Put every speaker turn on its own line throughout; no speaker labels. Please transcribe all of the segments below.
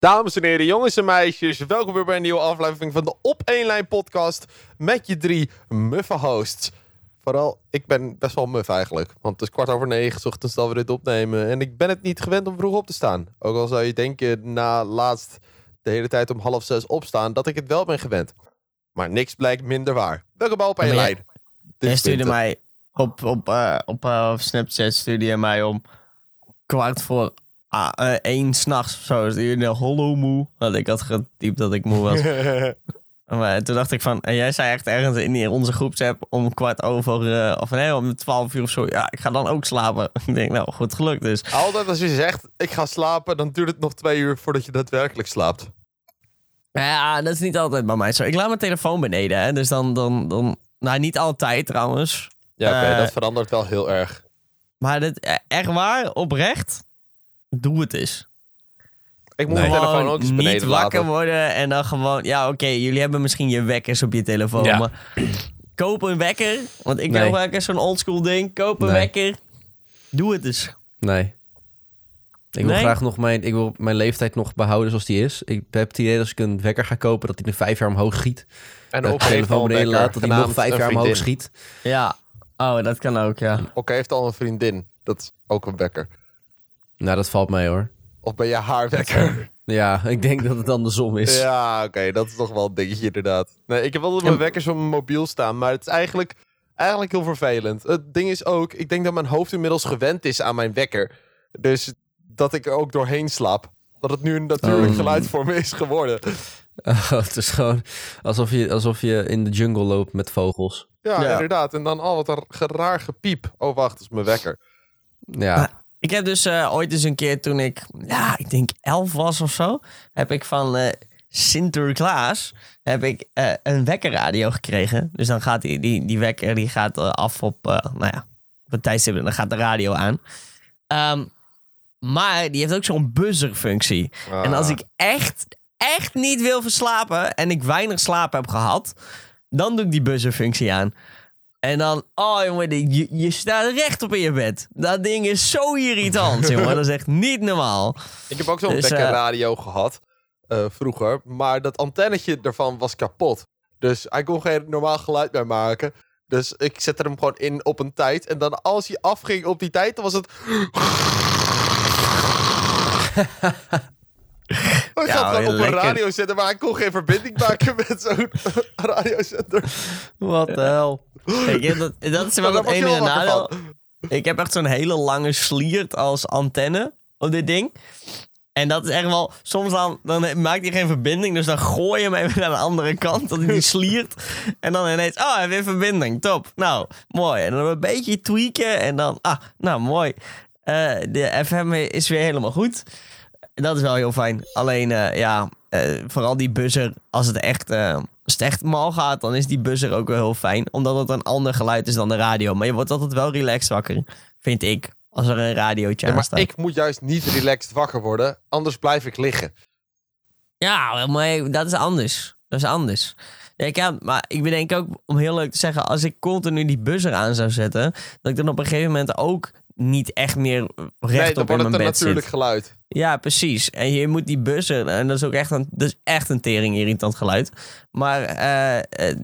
Dames en heren, jongens en meisjes, welkom weer bij een nieuwe aflevering van de Op 1 Lijn podcast met je drie muffe hosts. Vooral, ik ben best wel muf eigenlijk, want het is kwart over negen 's ochtends dat we dit opnemen en ik ben het niet gewend om vroeg op te staan. Ook al zou je denken na laatst de hele tijd om half zes opstaan dat ik het wel ben gewend. Maar niks blijkt minder waar. Welkom bij Op 1
Maar jij-
Lijn. Dit
Jij
is
stuurde
Winter.
mij op, op, eh, op, eh, op Snapchat stuurde je mij om kwart voor ah, eh, één s'nachts of zo. Dus Stuurde je hollow moe. Want ik had getypt dat ik moe was. maar toen dacht ik van, en jij zei echt ergens in die- onze groepsapp om kwart over, eh, of nee, om twaalf uur of zo. Ja, ik ga dan ook slapen. ik denk, nou, goed gelukt dus.
Altijd als je zegt, ik ga slapen, dan duurt het nog twee uur voordat je daadwerkelijk slaapt.
Ja, dat is niet altijd bij mij zo. Ik laat mijn telefoon beneden, hè. Dus dan, dan, dan nou, niet altijd trouwens.
Ja, oké,
Eh,
dat verandert wel heel erg.
Maar dat, eh, echt waar, oprecht, doe het eens.
Ik moet
Nee.
mijn telefoon
Gewoon
ook eens
Oh, niet
beneden
wakker
laten.
worden en dan gewoon... Ja, oké, jullie hebben misschien je wekkers op je telefoon,
Ja.
maar... Koop een wekker, want ik
Nee.
wil wel eens zo'n oldschool ding. Koop een
Nee.
wekker. Doe het eens.
Nee. Ik wil
Nee?
graag nog mijn, ik wil mijn leeftijd nog behouden zoals die is. Ik heb het idee dat als ik een wekker ga kopen, dat hij in vijf jaar omhoog schiet.
En
dat ik de telefoon beneden laat, dat hij nog vijf jaar omhoog schiet.
Ja. Oh, dat kan ook, ja.
Oké, heeft al een vriendin. Dat is ook een wekker.
Nou, dat valt mee hoor.
Of ben je haar wekker?
Ja, ik denk dat het andersom is.
ja, oké, dat is toch wel een dingetje inderdaad. Nee, ik heb altijd mijn wekkers op mijn mobiel staan, maar het is eigenlijk, eigenlijk heel vervelend. Het ding is ook, ik denk dat mijn hoofd inmiddels gewend is aan mijn wekker. Dus dat ik er ook doorheen slaap. Dat het nu een natuurlijk
Oh.
geluid voor me is geworden.
het is gewoon alsof je, alsof je in de jungle loopt met vogels.
Ja,
Ja.
inderdaad. En dan al wat er geraar gepiep. Oh, wacht, dat is mijn wekker.
Ja,
Ik heb dus eh, ooit eens een keer toen ik, ja, ik denk elf was of zo, heb ik van eh Sinterklaas heb ik, eh, een wekkerradio gekregen. Dus dan gaat die, die, die wekker die gaat, eh, af op, eh, nou ja, op een tijdstip en dan gaat de radio aan. Ehm, maar die heeft ook zo'n buzzerfunctie. En als ik echt, echt niet wil verslapen en ik weinig slaap heb gehad, dan doe ik die buzzerfunctie aan. En dan, oh jongen, die- je, je staat rechtop in je bed. Dat ding is zo irritant, jongen. Dat is echt niet normaal.
Ik heb ook zo'n
Dus, eh,
wekkerradio gehad eh, vroeger, maar dat antennetje ervan was kapot. Dus hij kon geen normaal geluid meer maken. Dus ik zette hem gewoon in op een tijd. En dan als hij afging op die tijd, dan was het... Ik had
Ja,
gewoon op een
lekker.
radio zetten, maar ik kon geen verbinding maken met zo'n radiozender.
wat de hel.
Ik heb dat, dat is
Maar
wel
daar
het
word je wel
enige
wakker
nadeel.
van.
Ik heb echt zo'n hele lange sliert als antenne op dit ding. En dat is echt wel... Soms dan, dan maakt hij geen verbinding, dus dan gooi je hem even naar de andere kant. Dat hij die sliert. En dan ineens, oh, hij heeft weer verbinding. Top. Nou, mooi. En dan een beetje tweaken en dan... Ah, nou, mooi. Eh, de FM is weer helemaal goed. Dat is wel heel fijn. Alleen, eh, ja, eh, vooral die buzzer. Als het, echt, eh, als het echt mal gaat, dan is die buzzer ook wel heel fijn. Omdat het een ander geluid is dan de radio. Maar je wordt altijd wel relaxed wakker, vind ik. Als er een radiootje
Ja,
aan
maar
staat.
ik moet juist niet relaxed wakker worden, anders blijf ik liggen.
Ja, maar dat is anders. Dat is anders. Ja, Ik heb, maar ik bedenk ook, om heel leuk te zeggen, als ik continu die buzzer aan zou zetten, dat ik dan op een gegeven moment ook niet echt meer
Nee,
recht
dan
op in
wordt
mijn
het een
bed zit.
natuurlijk geluid.
Ja, precies. En je moet die bussen. En dat is ook echt een, dat is echt een tering irritant geluid. Maar eh, eh,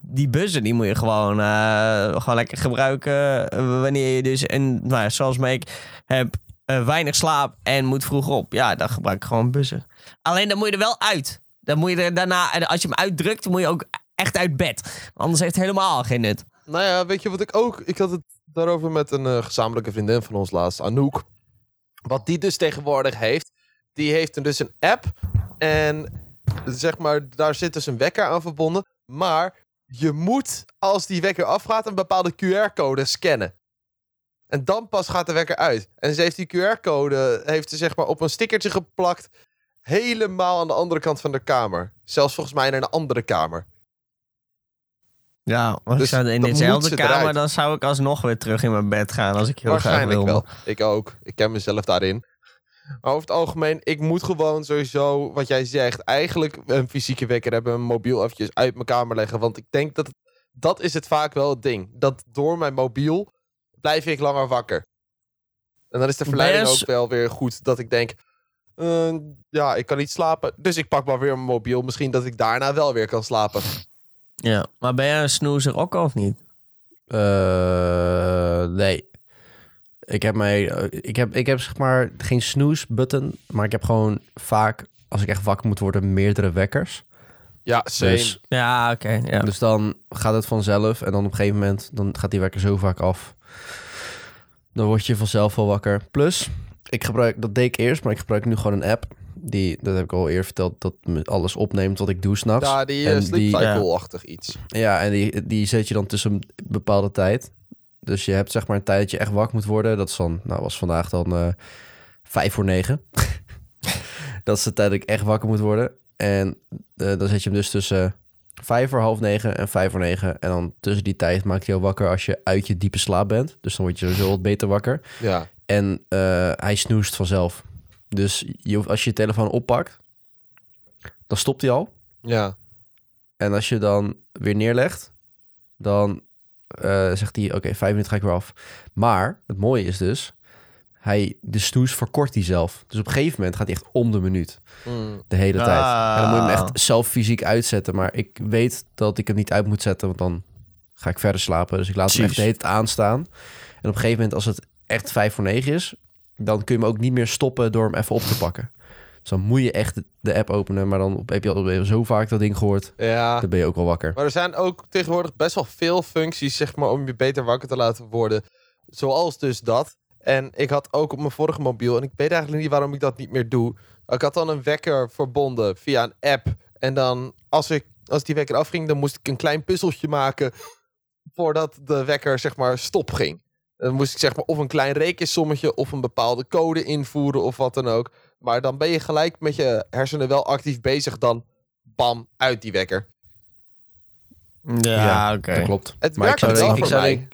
die bussen die moet je gewoon, eh, gewoon lekker gebruiken. eh, Wanneer je dus, en, nou, ja, zoals mij, ik heb eh, weinig slaap en moet vroeg op. Ja, dan gebruik ik gewoon bussen. Alleen dan moet je er wel uit. Dan moet je er daarna, en als je hem uitdrukt, moet je ook echt uit bed. Anders heeft het helemaal geen nut.
Nou ja, weet je wat ik ook... Ik had het daarover met een eh, gezamenlijke vriendin van ons laatst, Anouk. Wat die dus tegenwoordig heeft... Die heeft er dus een app. En zeg maar, daar zit dus een wekker aan verbonden. Maar je moet, als die wekker afgaat... een bepaalde QR-code scannen. En dan pas gaat de wekker uit. En ze heeft die QR-code heeft ze zeg maar, op een stickertje geplakt... helemaal aan de andere kant van de kamer. Zelfs volgens mij in een andere kamer.
Ja, als
Dus
ik zou in
dan moet
dezelfde
ze
kamer,
eruit.
dan zou ik alsnog weer terug in mijn bed gaan als ik heel graag wil.
Waarschijnlijk wel. Ik ook. Ik ken mezelf daarin. Maar over het algemeen, ik moet gewoon sowieso, wat jij zegt, eigenlijk een fysieke wekker hebben, een mobiel eventjes uit mijn kamer leggen. Want ik denk dat, dat is het vaak wel het ding. Dat door mijn mobiel blijf ik langer wakker. En dan is de
Ben je
verleiding
s-
ook wel weer goed dat ik denk, eh, ja, ik kan niet slapen. Dus ik pak maar weer mijn mobiel. Misschien dat ik daarna wel weer kan slapen.
Ja, maar ben jij een snoezer ook al of niet?
Eh, nee. Ik heb, mij, eh, ik, heb, ik heb zeg maar geen snooze-button, maar ik heb gewoon vaak, als ik echt wakker moet worden, meerdere wekkers.
Ja, same.
Dus,
Ja, oké. ja.
dus dan gaat het vanzelf en dan op een gegeven moment dan gaat die wekker zo vaak af. Dan word je vanzelf wel wakker. Plus, ik gebruik, dat deed ik eerst, maar ik gebruik nu gewoon een app. Die, dat heb ik al eerder verteld, dat me alles opneemt wat ik doe s'nachts.
Ja, die
En
eh,
die-
sleep cycle-achtig iets.
Ja, en die, die zet je dan tussen een bepaalde tijd. Dus je hebt zeg maar een tijd dat je echt wakker moet worden. Dat is dan, nou was vandaag dan eh vijf voor negen. dat is de tijd dat ik echt wakker moet worden. En eh, dan zet je hem dus tussen vijf voor half negen en vijf voor negen. En dan tussen die tijd maakt hij jou wakker als je uit je diepe slaap bent. Dus dan word je sowieso wat beter wakker.
Ja.
En eh, hij snoest vanzelf. Dus je, hoeft- als je je telefoon oppakt, dan stopt hij al.
Ja.
En als je dan weer neerlegt, dan eh, zegt hij: Oké, vijf minuten ga ik weer af. Maar het mooie is dus, hij, de snoes verkort hij zelf. Dus op een gegeven moment gaat hij echt om de minuut.
Mm.
De hele
Ah.
tijd. En dan moet je hem echt zelf fysiek uitzetten. Maar ik weet dat ik hem niet uit moet zetten, want dan ga ik verder slapen. Dus ik laat hem
Precies.
echt de hele tijd aanstaan. En op een gegeven moment, als het echt vijf voor negen is, dan kun je hem ook niet meer stoppen door hem even op te pakken. Dus dan moet je echt de- de app openen. Maar dan op- heb je al zo vaak dat ding gehoord.
Ja.
Dan ben je ook wel wakker.
Maar er zijn ook tegenwoordig best wel veel functies, zeg maar, om je beter wakker te laten worden. Zoals dus dat. En ik had ook op mijn vorige mobiel, en ik weet eigenlijk niet waarom ik dat niet meer doe. Ik had dan een wekker verbonden via een app. En dan, als, ik, als die wekker afging, dan moest ik een klein puzzeltje maken voordat de wekker, zeg maar, stop ging. Dan moest ik, zeg maar, of een klein rekensommetje of een bepaalde code invoeren of wat dan ook. Maar dan ben je gelijk met je hersenen wel actief bezig dan, bam, uit die wekker.
Ja,
Ja,
oké.
Dat klopt.
Het
maar ik
werkt
zou,
wel
denk, ik,
voor
zou
mij.
denk,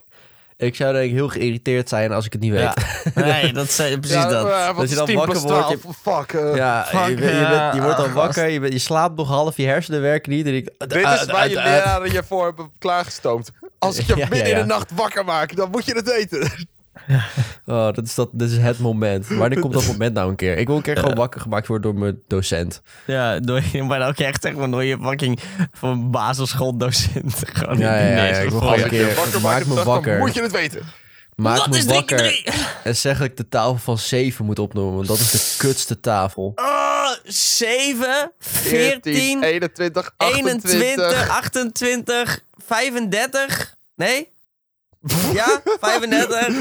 ik zou denk ik heel geïrriteerd zijn als ik het niet weet.
Ja. Nee, dat zei precies dat.
eh, wat
Dat je
is
dan
10
wakker
plus
wordt, je-
12? Fuck. eh.
Ja,
Fuck,
je, bent- je,
ja,
bent- je wordt
ah,
dan
gast.
wakker, je, bent- je slaapt nog half, je hersenen werken niet. En ik,
Dit is
uit,
waar
uit,
je
uit.
leraren je voor hebben klaargestoomd. Als ik je
Ja, ja,
midden in
ja.
de nacht wakker maak, dan moet je het weten.
Oh, dat, is dat, dat is het moment. Wanneer komt dat moment nou een keer? Ik wil een keer gewoon wakker gemaakt worden door mijn docent.
Ja, door je, maar dan ook echt zeg maar door je fucking van basisschooldocent. Gewoon
Ja, ja, ja,
ineens
ja, ik wil
gewoon-
Als
Als
ik
ik
je
je wakker maak,
maakt
op de
me
dag,
wakker.
dan moet je het weten.
Maak
Wat
me
is drie keer
wakker
drie?
en zeg dat ik de tafel van 7 moet opnoemen. Want dat is de kutste tafel.
Oh, 7,
eh,
14,
21, 28.
21, 28, 35. Nee? Ja, 35.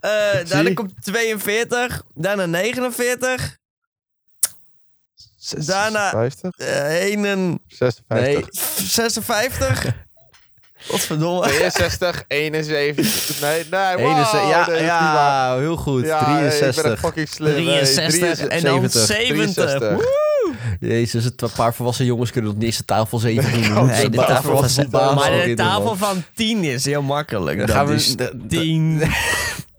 Eh daarna
Zie.
komt 42. Daarna 49. Daarna-
50,
eh
56.
Nee.
56. Wat verdomme.
62, 71. Nee, nee, wow,
Eenenzij- ja,
nee, dat is niet waar.
ja, heel goed.
Ja, hey, Ik ben
63.
een fucking slim. hey,
63 en dan
70.
70.
63.
Jezus, het een paar volwassen jongens kunnen nog niet eens de tafel 7 doen.
kan
Ze
Nee, de
bouwen
tafel
wat
van
voetbal
Maar de
in, man.
tafel van 10 is heel makkelijk. Dan
Dan gaan we-
is
de- de-
10,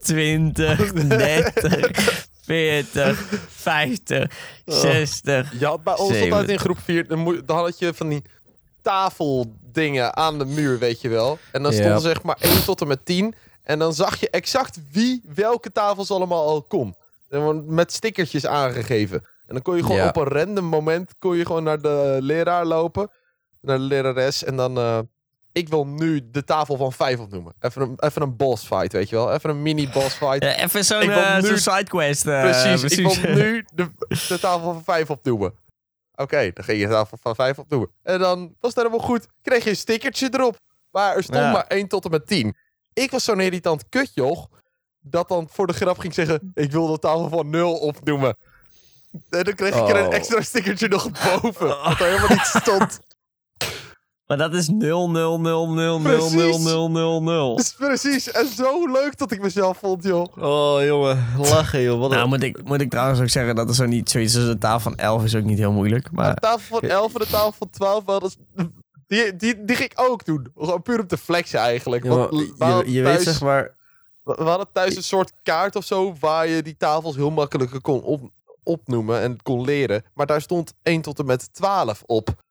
20, 30, 40, 50, 60.
Je had bij ons
Zeven.
altijd in groep 4, dan, moe- dan had je van die tafeldingen aan de muur, weet je wel. En dan
Ja.
stonden zeg maar 1 tot en met 10. En dan zag je exact wie welke tafels allemaal al kon. En dan Met stickertjes aangegeven. En dan kon je gewoon
Ja.
op een random moment kon je gewoon naar de leraar lopen. Naar de lerares. En dan... eh, ik wil nu de tafel van 5 opnoemen. Even een, even een boss fight, weet je wel. Even een mini boss fight.
Ja, even zo'n
Ik wil
eh,
nu-
zo'n sidequest. eh,
Precies,
precies.
ik wil nu de, de tafel van 5 opnoemen. Oké, dan ging je de tafel van 5 opnoemen. En dan was het helemaal goed. Kreeg je een stickertje erop. Maar er stond
Ja.
maar 1 tot en met 10. Ik was zo'n irritant kutjoch. Dat dan voor de grap ging zeggen: Ik wil de tafel van 0 opnoemen. En dan kreeg ik er een
Oh.
extra stickertje nog boven. Wat er helemaal niet stond.
Maar dat is 0, 0, 0, 0, 0, 0, 0, 0, 0.
Dus precies. En zo leuk dat ik mezelf vond, joh.
Oh, jongen. Lachen, joh. Wat een-
Nou, moet ik, moet ik trouwens ook zeggen dat er zo niet zoiets als een tafel van 11 is ook niet heel moeilijk. Maar
De tafel van 11 en de tafel van 12 wel, dat is- Die, die, die ging ik ook doen. Gewoon puur om te flexen eigenlijk.
Jongen,
Want we, hadden
je, je
thuis,
weet zeg maar...
we hadden thuis een soort kaart of zo... waar je die tafels heel makkelijk kon op, opnoemen en kon leren. Maar daar stond 1 tot en met 12 op.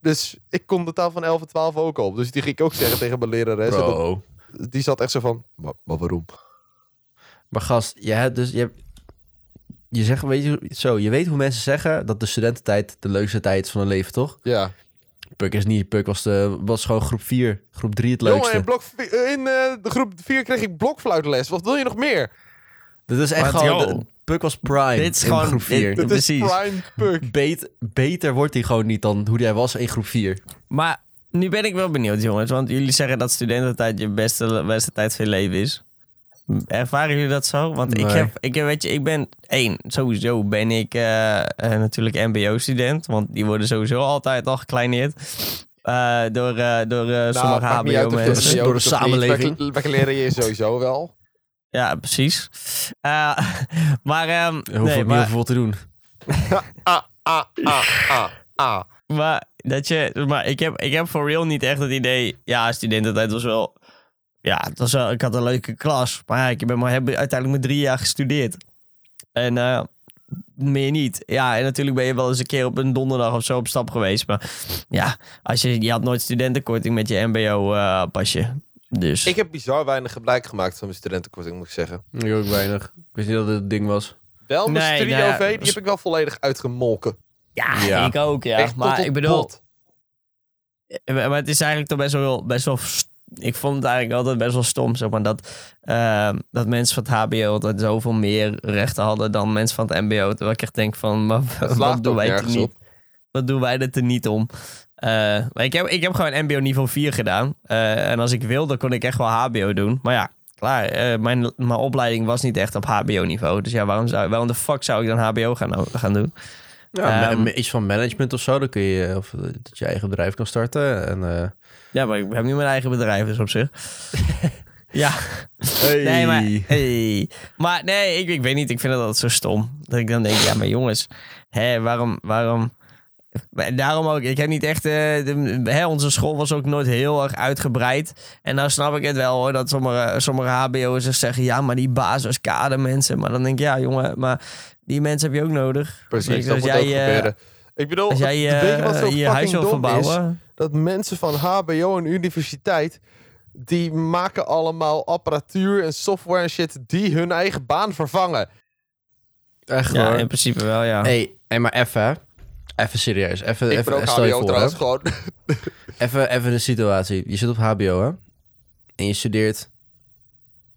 Dus ik kon de tafel van 11 en 12 ook op. Dus die ging ik ook zeggen tegen mijn lerares. En dat-
Bro.
die zat echt zo van... Maar, maar waarom?
Maar gast, je hebt dus... Je hebt, je, zegt, weet je, zo, je weet hoe mensen zeggen dat de studententijd de leukste tijd is van hun leven, toch?
Ja.
Puk is niet. Puk was, de, was gewoon groep 4, groep 3 het
Jongen,
leukste.
in, blok vi- eh, in eh, de groep 4 kreeg ik blokfluitles. Wat wil je nog meer?
Dit is echt
Maar
gewoon...
yo.
de- Puk was prime
Dit is
in
gewoon-
groep
dit-
4.
Het is
Precies.
prime puk.
Bet- beter wordt hij gewoon niet dan hoe hij was in groep 4.
Maar nu ben ik wel benieuwd, jongens. Want jullie zeggen dat studententijd je beste, beste tijd van je leven is. Ervaren jullie dat zo? Want ik
Nee.
heb, ik heb, weet je, ik ben één. Sowieso ben ik eh, eh, natuurlijk MBO-student. Want die worden sowieso altijd al gekleineerd. eh, door eh, door eh, sommige
Nou, maakt niet uit of je
mensen.
het
HBO-mensen.
doet
Door de
of niet.
samenleving.
Wij- Wij leren je sowieso wel.
Ja, precies. Eh, maar, ehm,
Er
nee,
hoeft ook niet heel
maar,
veel te doen.
Ah, ah, ah, ah, ah.
maar, dat je, maar ik heb, ik heb voor real niet echt het idee... Ja, studententijd was wel... Ja, het was wel, ik had een leuke klas. Maar ja, ik ben maar, heb uiteindelijk maar drie jaar gestudeerd. En eh, meer niet. Ja, en natuurlijk ben je wel eens een keer op een donderdag of zo op stap geweest. Maar ja, als je, je had nooit studentenkorting met je mbo-pasje. eh, dus...
Ik heb bizar weinig gebruik gemaakt van mijn studentenkorting, moet ik zeggen.
Ik ook weinig. Ik wist niet dat dit het ding was.
Wel, mijn
Nee,
studio
nou ja,
V, die heb ik wel volledig uitgemolken.
ja,
ja.
ik ook, ja.
Echt tot
maar
op
ik bedoel...
pot.
Eh, Maar het is eigenlijk toch best wel, best wel. st- Ik vond het eigenlijk altijd best wel stom, zeg maar, dat, ehm, dat mensen van het HBO altijd zoveel meer rechten hadden dan mensen van het MBO. Terwijl ik echt denk van, maar,
slaat
wat doen
ook
wij het er
nergens
niet?
op.
Wat doen wij het er niet om? Eh, maar ik heb, ik heb gewoon MBO niveau 4 gedaan. Eh, en als ik wilde, kon ik echt wel HBO doen. Maar ja, klaar. eh, mijn, mijn opleiding was niet echt op HBO niveau. Dus ja, waarom, zou, waarom de fuck zou ik dan HBO gaan, gaan doen?
Ja,
Ehm,
ma- iets van management of zo, dan kun je, of eh, dat je eigen bedrijf kan starten. En, eh,
Ja, maar ik heb nu mijn eigen bedrijf, dus op zich. ja. Nee, maar, hey. maar nee, ik, ik weet niet. Ik vind dat altijd zo stom. Dat ik dan denk, ja, maar jongens, hè, waarom, waarom... Maar Daarom ook, ik heb niet echt... eh, de- hè, onze school was ook nooit heel erg uitgebreid. En dan snap ik het wel hoor, dat sommige, sommige HBO'ers er zeggen... Ja, maar die basiskadermensen. Maar dan denk ik, ja jongen, maar die mensen heb je ook nodig.
Precies,
Als
dat moet ook
eh,
gebeuren. Ik bedoel,
Als jij eh,
weet je wat zo
je huis
fucking
wil
dom is?
verbouwen...
Dat mensen van HBO en universiteit, die maken allemaal apparatuur en software en shit die hun eigen baan vervangen.
echt
Ja,
hoor.
in principe wel, ja.
hey, hey, maar even, hè. even serieus. Even,
Ik ben
even,
ook
stel je
HBO
voor,
trouwens
hè.
gewoon.
Even, even de situatie. Je zit op HBO, hè? En je studeert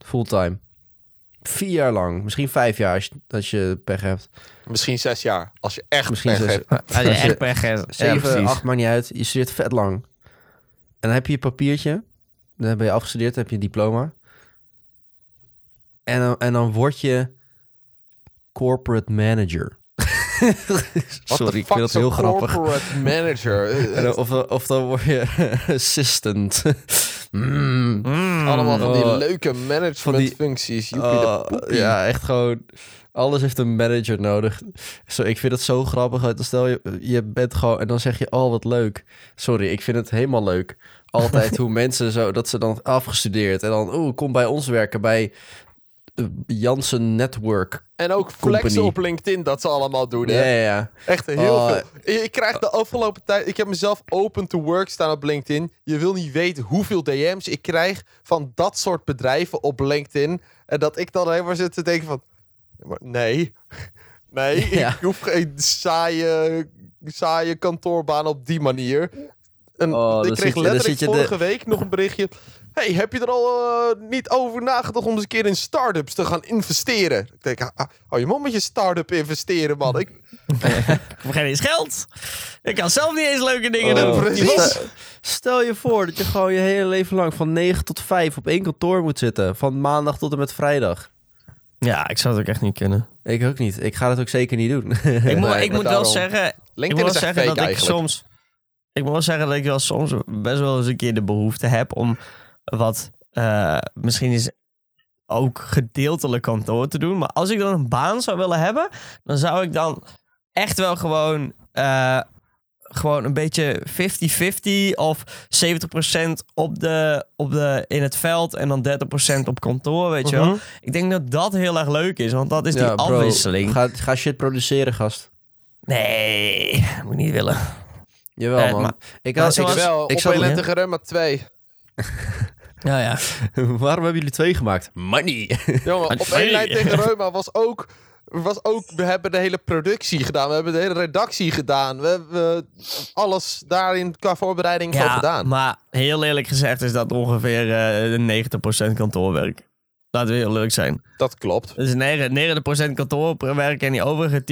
fulltime. Vier jaar lang, misschien vijf jaar als je, als je pech hebt.
Misschien zes jaar, als je echt
Misschien
pech
zes-
hebt.
Als je echt pech hebt. Ja,
Zeven,
precies.
acht, maakt niet uit. Je studeert vet lang. En dan heb je je papiertje. Dan ben je afgestudeerd, dan heb je een diploma. En dan, en dan word je corporate manager.
What the
Sorry, ik
fuck
vind dat
is een
heel grappig.
corporate manager. Eh,
En dan- Of, of dan word je assistant. Mm.
Mm.
Allemaal van die
Oh.
leuke managementfuncties. Joepie de
Oh,
poepie.
ja, echt gewoon. Alles heeft een manager nodig. Zo, ik vind het zo grappig. Dan Stel je, je bent gewoon. En dan zeg je: Oh, wat leuk. Sorry, ik vind het helemaal leuk. Altijd hoe mensen zo. Dat ze dan afgestudeerd. En dan. Oeh, kom bij ons werken. Bij eh, Jansen Network.
En ook flexen
Company.
op LinkedIn, dat ze allemaal doen.
Ja,
Hè?
ja, ja.
Echt heel
Oh.
veel. Ik krijg de afgelopen tijd... Ik heb mezelf open to work staan op LinkedIn. Je wil niet weten hoeveel DM's ik krijg van dat soort bedrijven op LinkedIn. En dat ik dan helemaal zit te denken van... maar Nee. Nee,
Ja.
ik hoef geen saaie, saaie kantoorbaan op die manier. En
Oh, dan
ik
zit je-
kreeg
dan
letterlijk
zit je de-
vorige week nog een berichtje. Hey, heb je er al eh, niet over nagedacht om eens een keer in start-ups te gaan investeren? Ik denk, ah, ah, hou je mond met je start-up investeren, man. Ik,
Ik heb geen eens geld. Ik kan zelf niet eens leuke dingen
Oh.
doen.
precies.
Stel, stel je voor dat je gewoon je hele leven lang van 9 tot 5 op één kantoor moet zitten. Van maandag tot en met vrijdag.
Ja, ik zou het ook echt niet kunnen.
Ik ook niet. Ik ga dat ook zeker niet doen.
Ik moet,
Nee,
ik
maar
moet wel
daarom.
zeggen, ik moet
LinkedIn
wel
is echt
zeggen dat
fake
ik
eigenlijk.
soms. Ik moet wel zeggen dat ik wel soms best wel eens een keer de behoefte heb om wat eh, misschien is ook gedeeltelijk kantoor te doen. Maar als ik dan een baan zou willen hebben, dan zou ik dan echt wel gewoon, eh, gewoon een beetje 50-50 of 70% op de, op de, in het veld en dan 30% op kantoor, weet je wel. Ik denk dat dat heel erg leuk is, want dat is die
Ja, bro,
afwisseling.
Ga, ga shit produceren, gast.
Nee, moet ik niet willen.
Jawel,
Eh,
man.
maar-
ik
maar
had,
zoals-
ik,
Wel,
ik
op
zat,
Elendige Remma 2.
Ja, ja.
Waarom hebben jullie twee gemaakt? Money.
Jongen, op één lijn tegen Reuma was ook, was ook... We hebben de hele productie gedaan. We hebben de hele redactie gedaan. We hebben eh, alles daarin qua voorbereiding van gedaan.
maar heel eerlijk gezegd is dat ongeveer eh 90% kantoorwerk. Laten we heel leuk zijn.
Dat klopt.
Dus negen- 90% kantoorwerk en die overige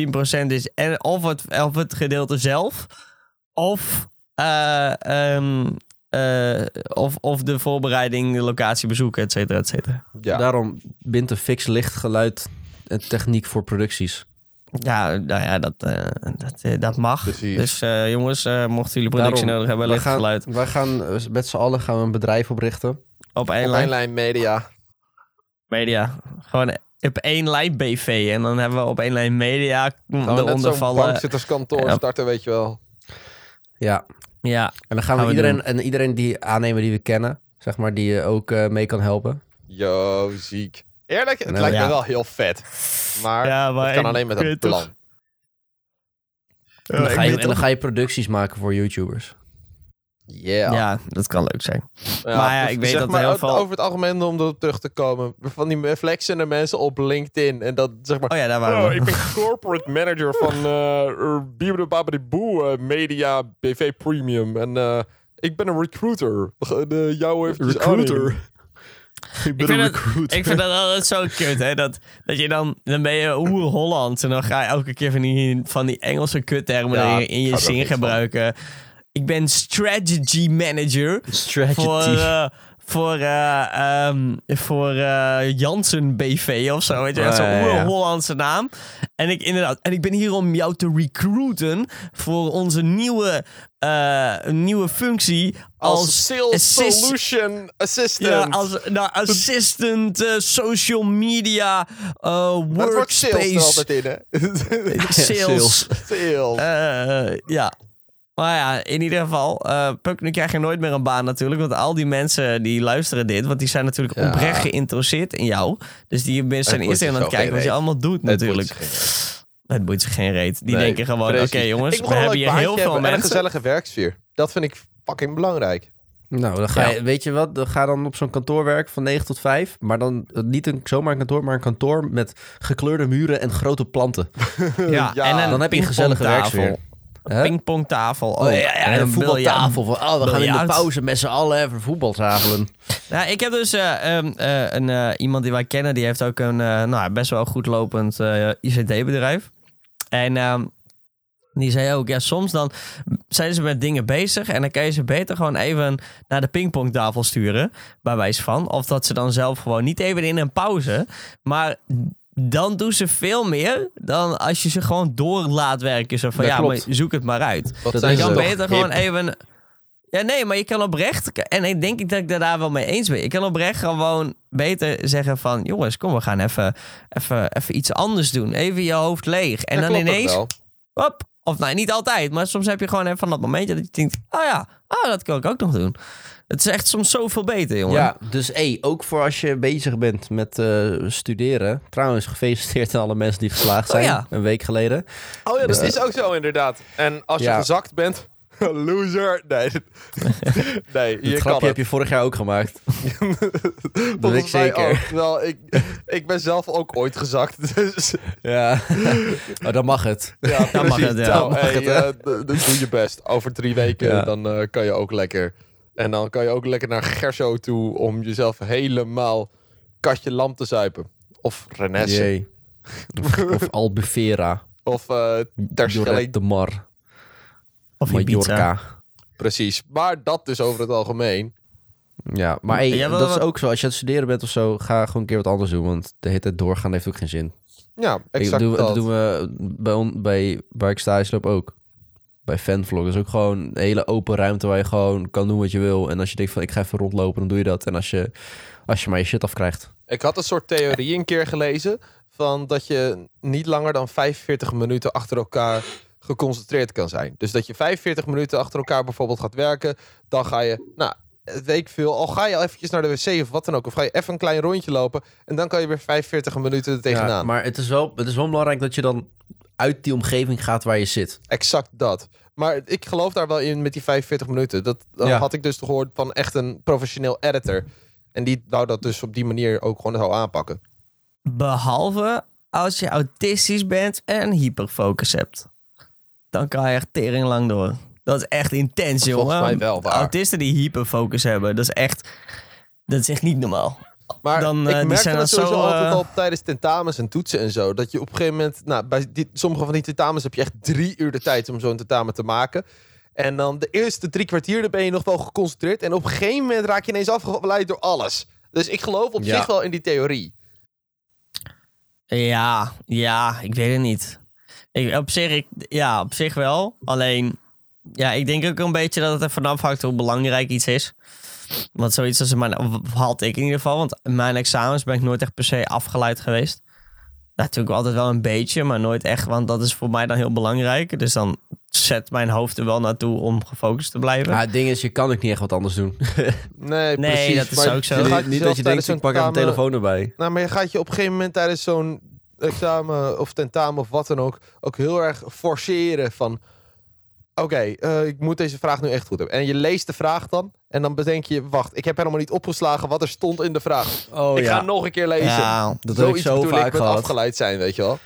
10% is en of, het, of het gedeelte zelf, of, eh, ehm, eh, of, of de voorbereiding, de locatie bezoeken, et cetera, et cetera.
Ja.
Daarom bindt een fix licht, geluid en techniek voor producties.
Ja, nou ja, dat, eh, dat, eh, dat mag.
Precies.
Dus eh, jongens, eh, mochten jullie productie
Daarom,
nodig hebben,
wij
licht
gaan,
geluid
Wij gaan eh, met z'n allen gaan we een bedrijf oprichten.
op één
Op
lijn.
één lijn media.
Media. Gewoon op één lijn BV. En dan hebben we op één lijn media mm,
Gaan we net
eronder
zo'n
vallen.
bankzitterskantoor
Ja.
starten, weet je wel.
Ja.
Ja,
En dan gaan,
Gaan
we,
we
iedereen, en iedereen die aannemen die we kennen, zeg maar, die eh, ook eh, mee kan helpen.
Yo, ziek. Eerlijk, het
Nou,
lijkt
ja.
me wel heel vet. Maar
ja maar
het kan alleen met
ik
een
weet toch-
plan.
Ja,
En dan,
ik
ga je,
weet
en dan
toch-
ga je producties maken voor YouTubers.
Yeah.
ja, dat kan leuk zijn. Maar ja, ik weet
zeg
dat
maar,
heel
o-
veel-
Over het algemeen om erop terug te komen. Van die flexende mensen op LinkedIn. En dat zeg maar...
Oh ja, daar waren we.
ben corporate manager van eh, Bibidibabadiboe eh, Media BV Premium. En eh, ik ben een recruiter. jou heeft
Ik
Ik vind, het, ik vind dat altijd zo kut, hè. Dat, dat je dan, dan ben je oer Hollands en dan ga je elke keer van die, van die Engelse kuttermen
Ja,
in, in je
gaat ook
zin
niet van.
gebruiken. Ik ben strategy manager voor, eh, voor, eh, ehm, voor eh, Jansen BV of zo.
Oh,
Weet je, wel,
Ja,
zo'n
ja, ja.
Hollandse naam. En ik inderdaad, en ik ben hier om jou te recruiten voor onze nieuwe, eh, nieuwe functie als,
Als sales
assist-
solution assistant.
ja, als nou, assistant eh, social media eh,
Maar het wordt sales er
workspace
altijd in, hè?
sales.
Sales.
sales.
Eh, ja. Maar ja, in ieder geval, eh Puk, nu krijg je nooit meer een baan natuurlijk. Want al die mensen die luisteren dit, want die zijn natuurlijk
Ja.
oprecht geïnteresseerd in jou. Dus die mensen zijn
boeit
eerst
ze
aan het
zo
kijken
geen
wat je
reet.
allemaal doet natuurlijk. Het boeit ze geen reet. Die
Nee,
denken gewoon, oké
precies.
jongens,
Ik moet
we
gewoon
hebben
een
hier
leuk
heel
baantje
veel
hebben en
mensen.
een gezellige werksfeer. Dat vind ik fucking belangrijk.
Nou, dan ga
Ja.
je, weet je wat, dan ga dan op zo'n kantoor werken van 9 tot 5. Maar dan eh, niet een, zomaar een kantoor, maar een kantoor met gekleurde muren en grote planten.
Ja,
Ja,
en een
dan heb je een gezellige
pingpongtafel.
werksfeer. Hè?
Pingpongtafel. Oh, ja, ja,
en een
biljart.
voetbaltafel. Van, oh, we gaan in de
biljart.
pauze met z'n allen even voetbal tafelen.
Nou, ik heb dus eh, ehm, eh, een, eh, iemand die wij kennen, die heeft ook een eh, nou, best wel goed lopend eh, ICT-bedrijf. En ehm, die zei ook, ja, soms dan zijn ze met dingen bezig en dan kan je ze beter gewoon even naar de pingpongtafel sturen, bij wijze van. Of dat ze dan zelf gewoon niet even in een pauze, maar dan doen ze veel meer dan als je ze gewoon door laat werken. Zo van,
Dat
ja,
klopt.
maar zoek het maar uit.
Wat
Dat
zijn
Je
is
ze
kan
het.
toch
beter
hip.
gewoon even. Ja, nee, maar je kan oprecht. En ik denk dat ik daar- daar wel mee eens ben. Ik kan oprecht gewoon beter zeggen van. Jongens, kom, we gaan even, even, even iets anders doen. Even je hoofd leeg. En
Dat
dan
klopt ook
ineens.
wel.
Hop, of nou, niet altijd. Maar soms heb je gewoon even van dat momentje dat je denkt. Oh ja, oh, dat kan ik ook nog doen. Het is echt soms zoveel beter, jongen.
Ja, dus hey, ook voor als je bezig bent met eh, studeren. Trouwens, gefeliciteerd aan alle mensen die geslaagd
Oh,
zijn
ja.
een week geleden.
Oh ja, dat is ook zo inderdaad. En als je
Ja.
gezakt bent, loser. Nee, nee
Dat
je kan
grapje heb
het.
je vorig jaar ook gemaakt.
Volgens
ik
mij
zeker.
ook. Wel, ik, ik ben zelf ook ooit gezakt. Dus
Ja, oh, dan mag het.
ja,
Dan mag
precies.
het, ja.
Nou,
Dan
mag
hey,
het, hè?
eh, d- d- doe je best. Over drie weken
Ja.
dan eh, kan je ook lekker. En dan kan je ook lekker naar Gerso toe om jezelf helemaal katje lam te zuipen. Of Renesse.
Jee. Of, of Albufera.
Of eh Terschelling.
Jorrit de Mar.
of Ibiza.
Mallorca.
Precies. Maar dat dus over het algemeen.
Ja, maar hey,
Ja, wel
dat is
wat-
ook zo. Als je aan het studeren bent of zo, ga gewoon een keer wat anders doen. Want de hele tijd doorgaan heeft ook geen zin.
Ja,
Ik,
exact
doe,
dat.
dat doen we bij, on- bij waar ik stage loop ook. Bij fanvlog. Dat is ook gewoon een hele open ruimte waar je gewoon kan doen wat je wil. En als je denkt van ik ga even rondlopen, dan doe je dat. En als je, als je maar je shit afkrijgt.
Ik had een soort theorie een keer gelezen. Van dat je niet langer dan 45 minuten achter elkaar geconcentreerd kan zijn. Dus dat je 45 minuten achter elkaar bijvoorbeeld gaat werken. Dan ga je, nou, het weet ik veel. Al ga je eventjes naar de wc of wat dan ook. Of ga je even een klein rondje lopen. En dan kan je weer 45 minuten er tegenaan.
Ja, maar het is, wel, het is wel belangrijk dat je dan uit die omgeving gaat waar je zit.
Exact dat. Maar ik geloof daar wel in met die 45 minuten. Dat, dat
Ja.
had ik dus gehoord van echt een professioneel editor. En die wou dat dus op die manier ook gewoon zou aanpakken.
Behalve als je autistisch bent en hyperfocus hebt. Dan kan je echt tering lang door. Dat is echt intens, jongen.
Volgens mij wel waar.
Autisten die hyperfocus hebben, dat is echt... Dat is echt niet normaal.
Maar
Dan, eh,
ik
die
merkte
zijn
dat
dan zo,
sowieso altijd
eh,
al tijdens tentamens en toetsen en zo. Dat je op een gegeven moment... Nou, bij die, sommige van die tentamens heb je echt drie uur de tijd om zo'n tentamen te maken. En dan de eerste drie kwartier dan ben je nog wel geconcentreerd. En op een gegeven moment raak je ineens afgeleid door alles. Dus ik geloof op
Ja.
zich wel in die theorie.
Ja, ja, ik weet het niet. Ik, op, zich, ik, ja, op zich wel. Alleen, ja, ik denk ook een beetje dat het ervan afhangt hoe belangrijk iets is. Want zoiets als in mijn, of had ik in ieder geval. Want in mijn examens ben ik nooit echt per se afgeleid geweest. Natuurlijk altijd wel een beetje, maar nooit echt. Want dat is voor mij dan heel belangrijk. Dus dan zet mijn hoofd er wel naartoe om gefocust te blijven.
Maar het ding is, je kan ook niet echt wat anders doen.
Nee,
Nee,
precies.
dat is
maar
ook zo.
je
Niet-
gaat
niet
jezelf
dat
tijdens
je denkt,
zo'n
ik pak even
tentamen-
mijn telefoon erbij.
Nou, maar je gaat je op een gegeven moment tijdens zo'n examen of tentamen of wat dan ook, ook heel erg forceren van, oké, eh, ik moet deze vraag nu echt goed hebben. En je leest de vraag dan en dan bedenk je, wacht, ik heb helemaal niet opgeslagen wat er stond in de vraag.
Oh
ik
ja,
ga nog een keer lezen.
ja,
dat heb ik
Zoiets
zo
bedoel
vaak
ik met
gehad.
afgeleid zijn, weet je wel.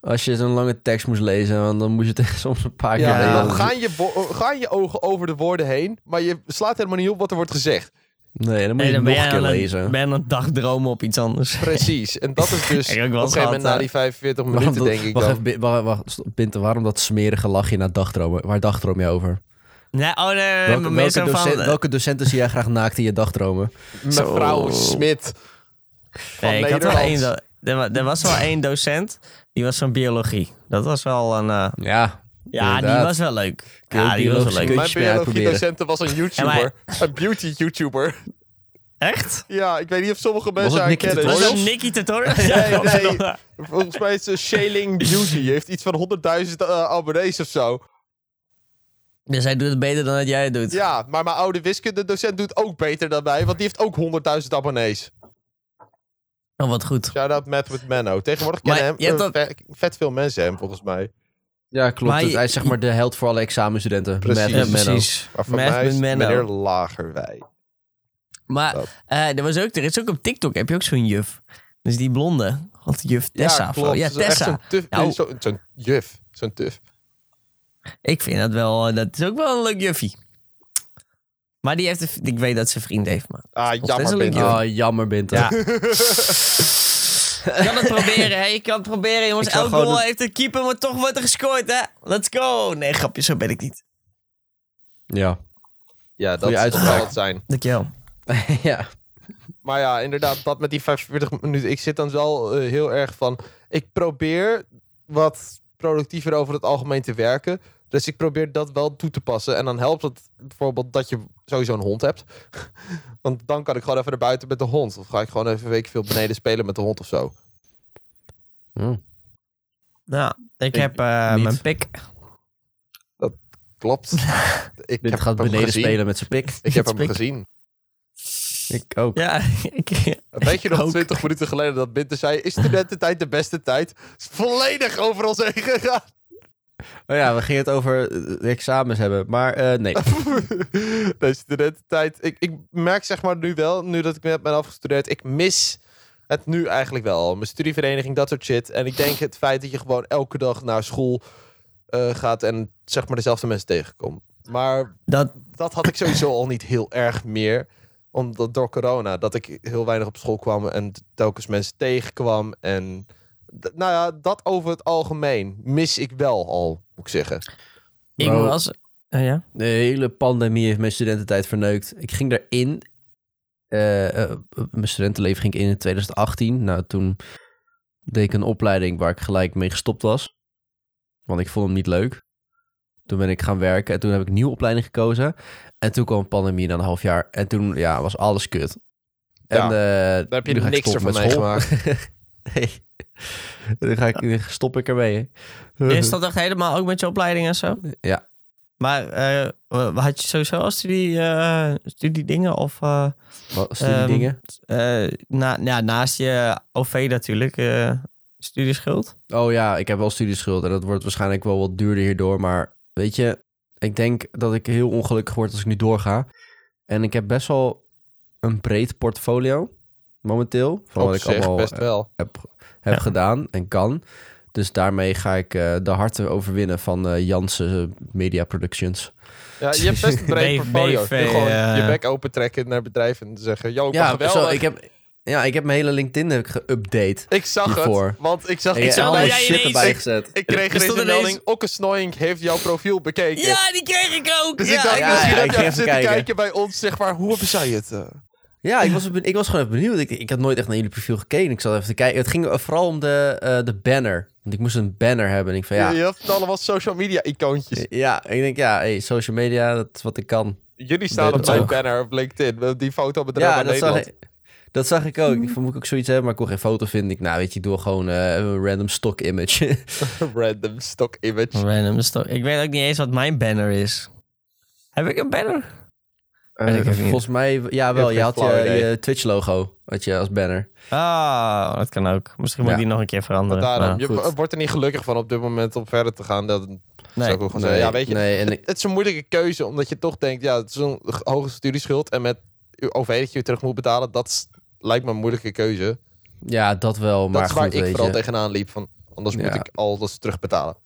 Als je zo'n lange tekst moest lezen, want dan moest je het soms een paar keer
Ja,
lezen.
Dan gaan je, wo- gaan je ogen over de woorden heen, maar je slaat helemaal niet op wat er wordt gezegd.
Nee, dan moet
en
je
dan ben
het nog
je
een keer
aan het-
lezen.
ben je aan het dagdromen op iets anders.
Precies. En dat is dus op
Ik heb
een
ook wel eens
gegeven moment
gehad,
na die 45
Waarom
minuten,
dat-
denk ik
wacht,
dan.
even, Bin- wacht, wacht, stop, Binten, waarom dat smerige lachje naar dagdromen? Waar dagdroom je over?
Nee, oh nee, nee, nee,
Welke,
maar meer
welke,
zo van...
docent- welke docenten zie jij graag naakt in je dagdromen?
Mevrouw Smit. van
Nee, ik had wel één.
Nederland.
do- Er, wa- er was wel één docent, die was van biologie. Dat was wel een. eh,
Ja,
ja, die
Inderdaad.
was wel leuk.
Kun je
Ja,
ook
die was wel
biologische
leuk.
kunst-
Mijn
Kunstjes mee uitproberen.
biologiedocenten was een YouTuber.
Ja,
Een beauty-YouTuber.
Echt?
Ja, ik weet niet of sommige
het
mensen haar
Nicky
kennen.
Was
Tutorials?
dat Nicky Tutorials?
Nee,
dat was
nee.
wel-
Volgens mij is ze Shaling Beauty. Heeft iets van 100.000 eh, abonnees of zo.
Dus hij doet het beter dan dat jij het doet.
Ja, maar mijn oude wiskundedocent doet ook beter dan mij. Want die heeft ook 100.000 abonnees.
Oh, wat goed.
Shout-out Matt with Menno. Tegenwoordig
Maar
kennen hem
je hebt
eh,
dat-
vet, vet veel mensen hem, volgens mij.
ja klopt.
Maar je-
Het- hij is zeg maar de held voor alle examenstudenten.
Precies.
Matt
Ja,
en Menno.
precies.
Maar voor
Math
mij is
with Menno.
meneer Lagerwij.
Maar
Dat.
eh, er, was ook, er is ook op TikTok, heb je ook zo'n juf. Dus die blonde. God, juf Tessa.
ja,
of zo.
klopt.
ja
Ze is echt
Tessa.
Zo'n tuf-
Nou.
eh, zo- zo'n juf. Zo'n tuf.
Ik vind dat wel, eh, dat is ook wel een leuk juffie. Maar die heeft, een v- ik weet dat ze een vriend heeft, maar
Ah,
is
jammer ben
een linkje.
ik.
Ah, jammer Binten.
Ja. Je kan het proberen, hè? Je kan het proberen, jongens.
Ik zou
Elk
gewoon
goal
een-
heeft een keeper, maar toch wordt er gescoord, hè? Let's go! Nee, grapje, zo ben ik niet.
Ja.
Ja, dat
Goeie
zal
uitspraak.
het zijn.
Dankjewel.
ja.
Maar ja, inderdaad, dat met die 45 minuten. Ik zit dan wel eh, heel erg van. Ik probeer wat productiever over het algemeen te werken. Dus ik probeer dat wel toe te passen. En dan helpt het bijvoorbeeld dat je sowieso een hond hebt. Want dan kan ik gewoon even naar buiten met de hond. Of ga ik gewoon even een week veel beneden spelen met de hond of zo.
Hm.
Nou, ik, heb
niet.
mijn pik.
Klopt. ik
Dit
heb
gaat
hem
beneden
gezien.
spelen met zijn pik.
Ik heb hem
Spik.
gezien.
Ik ook.
Ja, ik,
Weet je nog
Ook.
20 minuten geleden dat Binter zei... Is studententijd de beste tijd? Is volledig over ons heen gegaan.
Oh ja, we gingen het over eh, examens hebben. Maar eh, nee.
nee, studententijd. Ik, ik merk zeg maar nu wel, nu dat ik net ben afgestudeerd, ik mis het nu eigenlijk wel. al. Mijn studievereniging, dat soort shit. En ik denk het feit dat je gewoon elke dag naar school eh, gaat en zeg maar dezelfde mensen tegenkomt. Maar
dat,
dat had ik sowieso al niet heel erg meer. Omdat door corona, dat ik heel weinig op school kwam en telkens mensen tegenkwam. En d- nou ja, dat over het algemeen mis ik wel al, moet ik zeggen.
ik
Wow.
was... Oh ja?
De hele pandemie heeft mijn studententijd verneukt. Ik ging daarin. eh, eh, mijn studentenleven ging ik in in 2018. Nou, toen deed ik een opleiding waar ik gelijk mee gestopt was. Want ik vond hem niet leuk. Toen ben ik gaan werken en toen heb ik een nieuwe opleiding gekozen. En toen kwam een pandemie na een half jaar. En toen ja, was alles kut.
Ja,
en, eh, daar
heb je niks ervan
nee. Dan ga ik, nu stop ik ermee. hè.
Is dat echt helemaal ook met je opleiding en zo?
Ja.
Maar eh, w- had je sowieso al studie, eh, studiedingen of... eh,
Wat, studiedingen?
eh, na, ja, naast je OV natuurlijk, eh studieschuld?
Oh ja, ik heb wel studieschuld en dat wordt waarschijnlijk wel wat duurder hierdoor. Maar weet je, ik denk dat ik heel ongelukkig word als ik nu doorga. En ik heb best wel een breed portfolio momenteel. Van
Op
wat ik
zich
allemaal
best
eh,
wel.
heb, heb
Ja.
gedaan en kan. Dus daarmee ga ik eh, de harten overwinnen van eh Jansen Media Productions.
Ja, je hebt best een breed
B-
portfolio. Je
BV,
kunt gewoon
eh,
je bek open trekken naar bedrijven en zeggen... Yo, ik kan
Ja,
geweldig.
zo,
ik,
ik heb, ja, ik heb mijn hele LinkedIn heb ik geüpdate.
zag
hiervoor.
het, want ik zag...
En
Ik,
ik heb
zag
zag
dat
allemaal
bij-
jij
shit
ineens-
erbij gezet.
ik kreeg
Er
ineens
stond
een
ineens-
melding... Okke Snoyink heeft jouw profiel bekeken.
Ja, die kreeg ik ook.
Dus
ja,
ik dacht,
ja,
misschien
ja,
heb
ik
jij
ging
zitten
even kijken.
kijken bij ons, zeg maar, hoe hebben zij het? eh?
Ja, ik was, ben- ik was gewoon even benieuwd. Ik, ik had nooit echt naar jullie profiel gekeken. Ik zat even te kijken. Het ging vooral om de, eh, de banner. Want ik moest een banner hebben. En ik van ja.
Je, je hebt allemaal social media icoontjes.
Ja, ik denk ja, hey, social media, dat is wat ik kan.
Jullie staan
Dat
op mijn
ook.
banner op LinkedIn. met Die foto met de
ja,
ja,
dat
Nederland.
zag, ik, dat zag ik ook. Ik vond, moet ik ook zoiets hebben, maar ik kon geen foto vinden. Ik, nou, weet je, ik doe gewoon eh, een random stock image.
Random stock image.
Random story. Ik weet ook niet eens wat mijn banner is. Heb ik een banner?
Eh,
ik even niet.
volgens mij, ja wel,
heb
je
geen
had je,
flauw idee.
je Twitch-logo had je als banner.
Ah, dat kan ook. Misschien moet ik
Ja.
die nog een keer
Maar
veranderen.
daarom,
maar-
je
goed.
wordt er niet gelukkig van op dit moment om verder te gaan. Dat zou
nee.
ik ook gewoon zeggen. Ja, weet je,
Nee, en ik,
het is een moeilijke keuze, omdat je toch denkt, ja, het is een g- hoge studieschuld en met uw OV dat je terug moet betalen, dat is- lijkt me een moeilijke keuze.
ja, dat wel, maar
dat is
goed,
waar ik
weet
vooral
je.
tegenaan liep, van anders moet
Ja.
ik alles terugbetalen.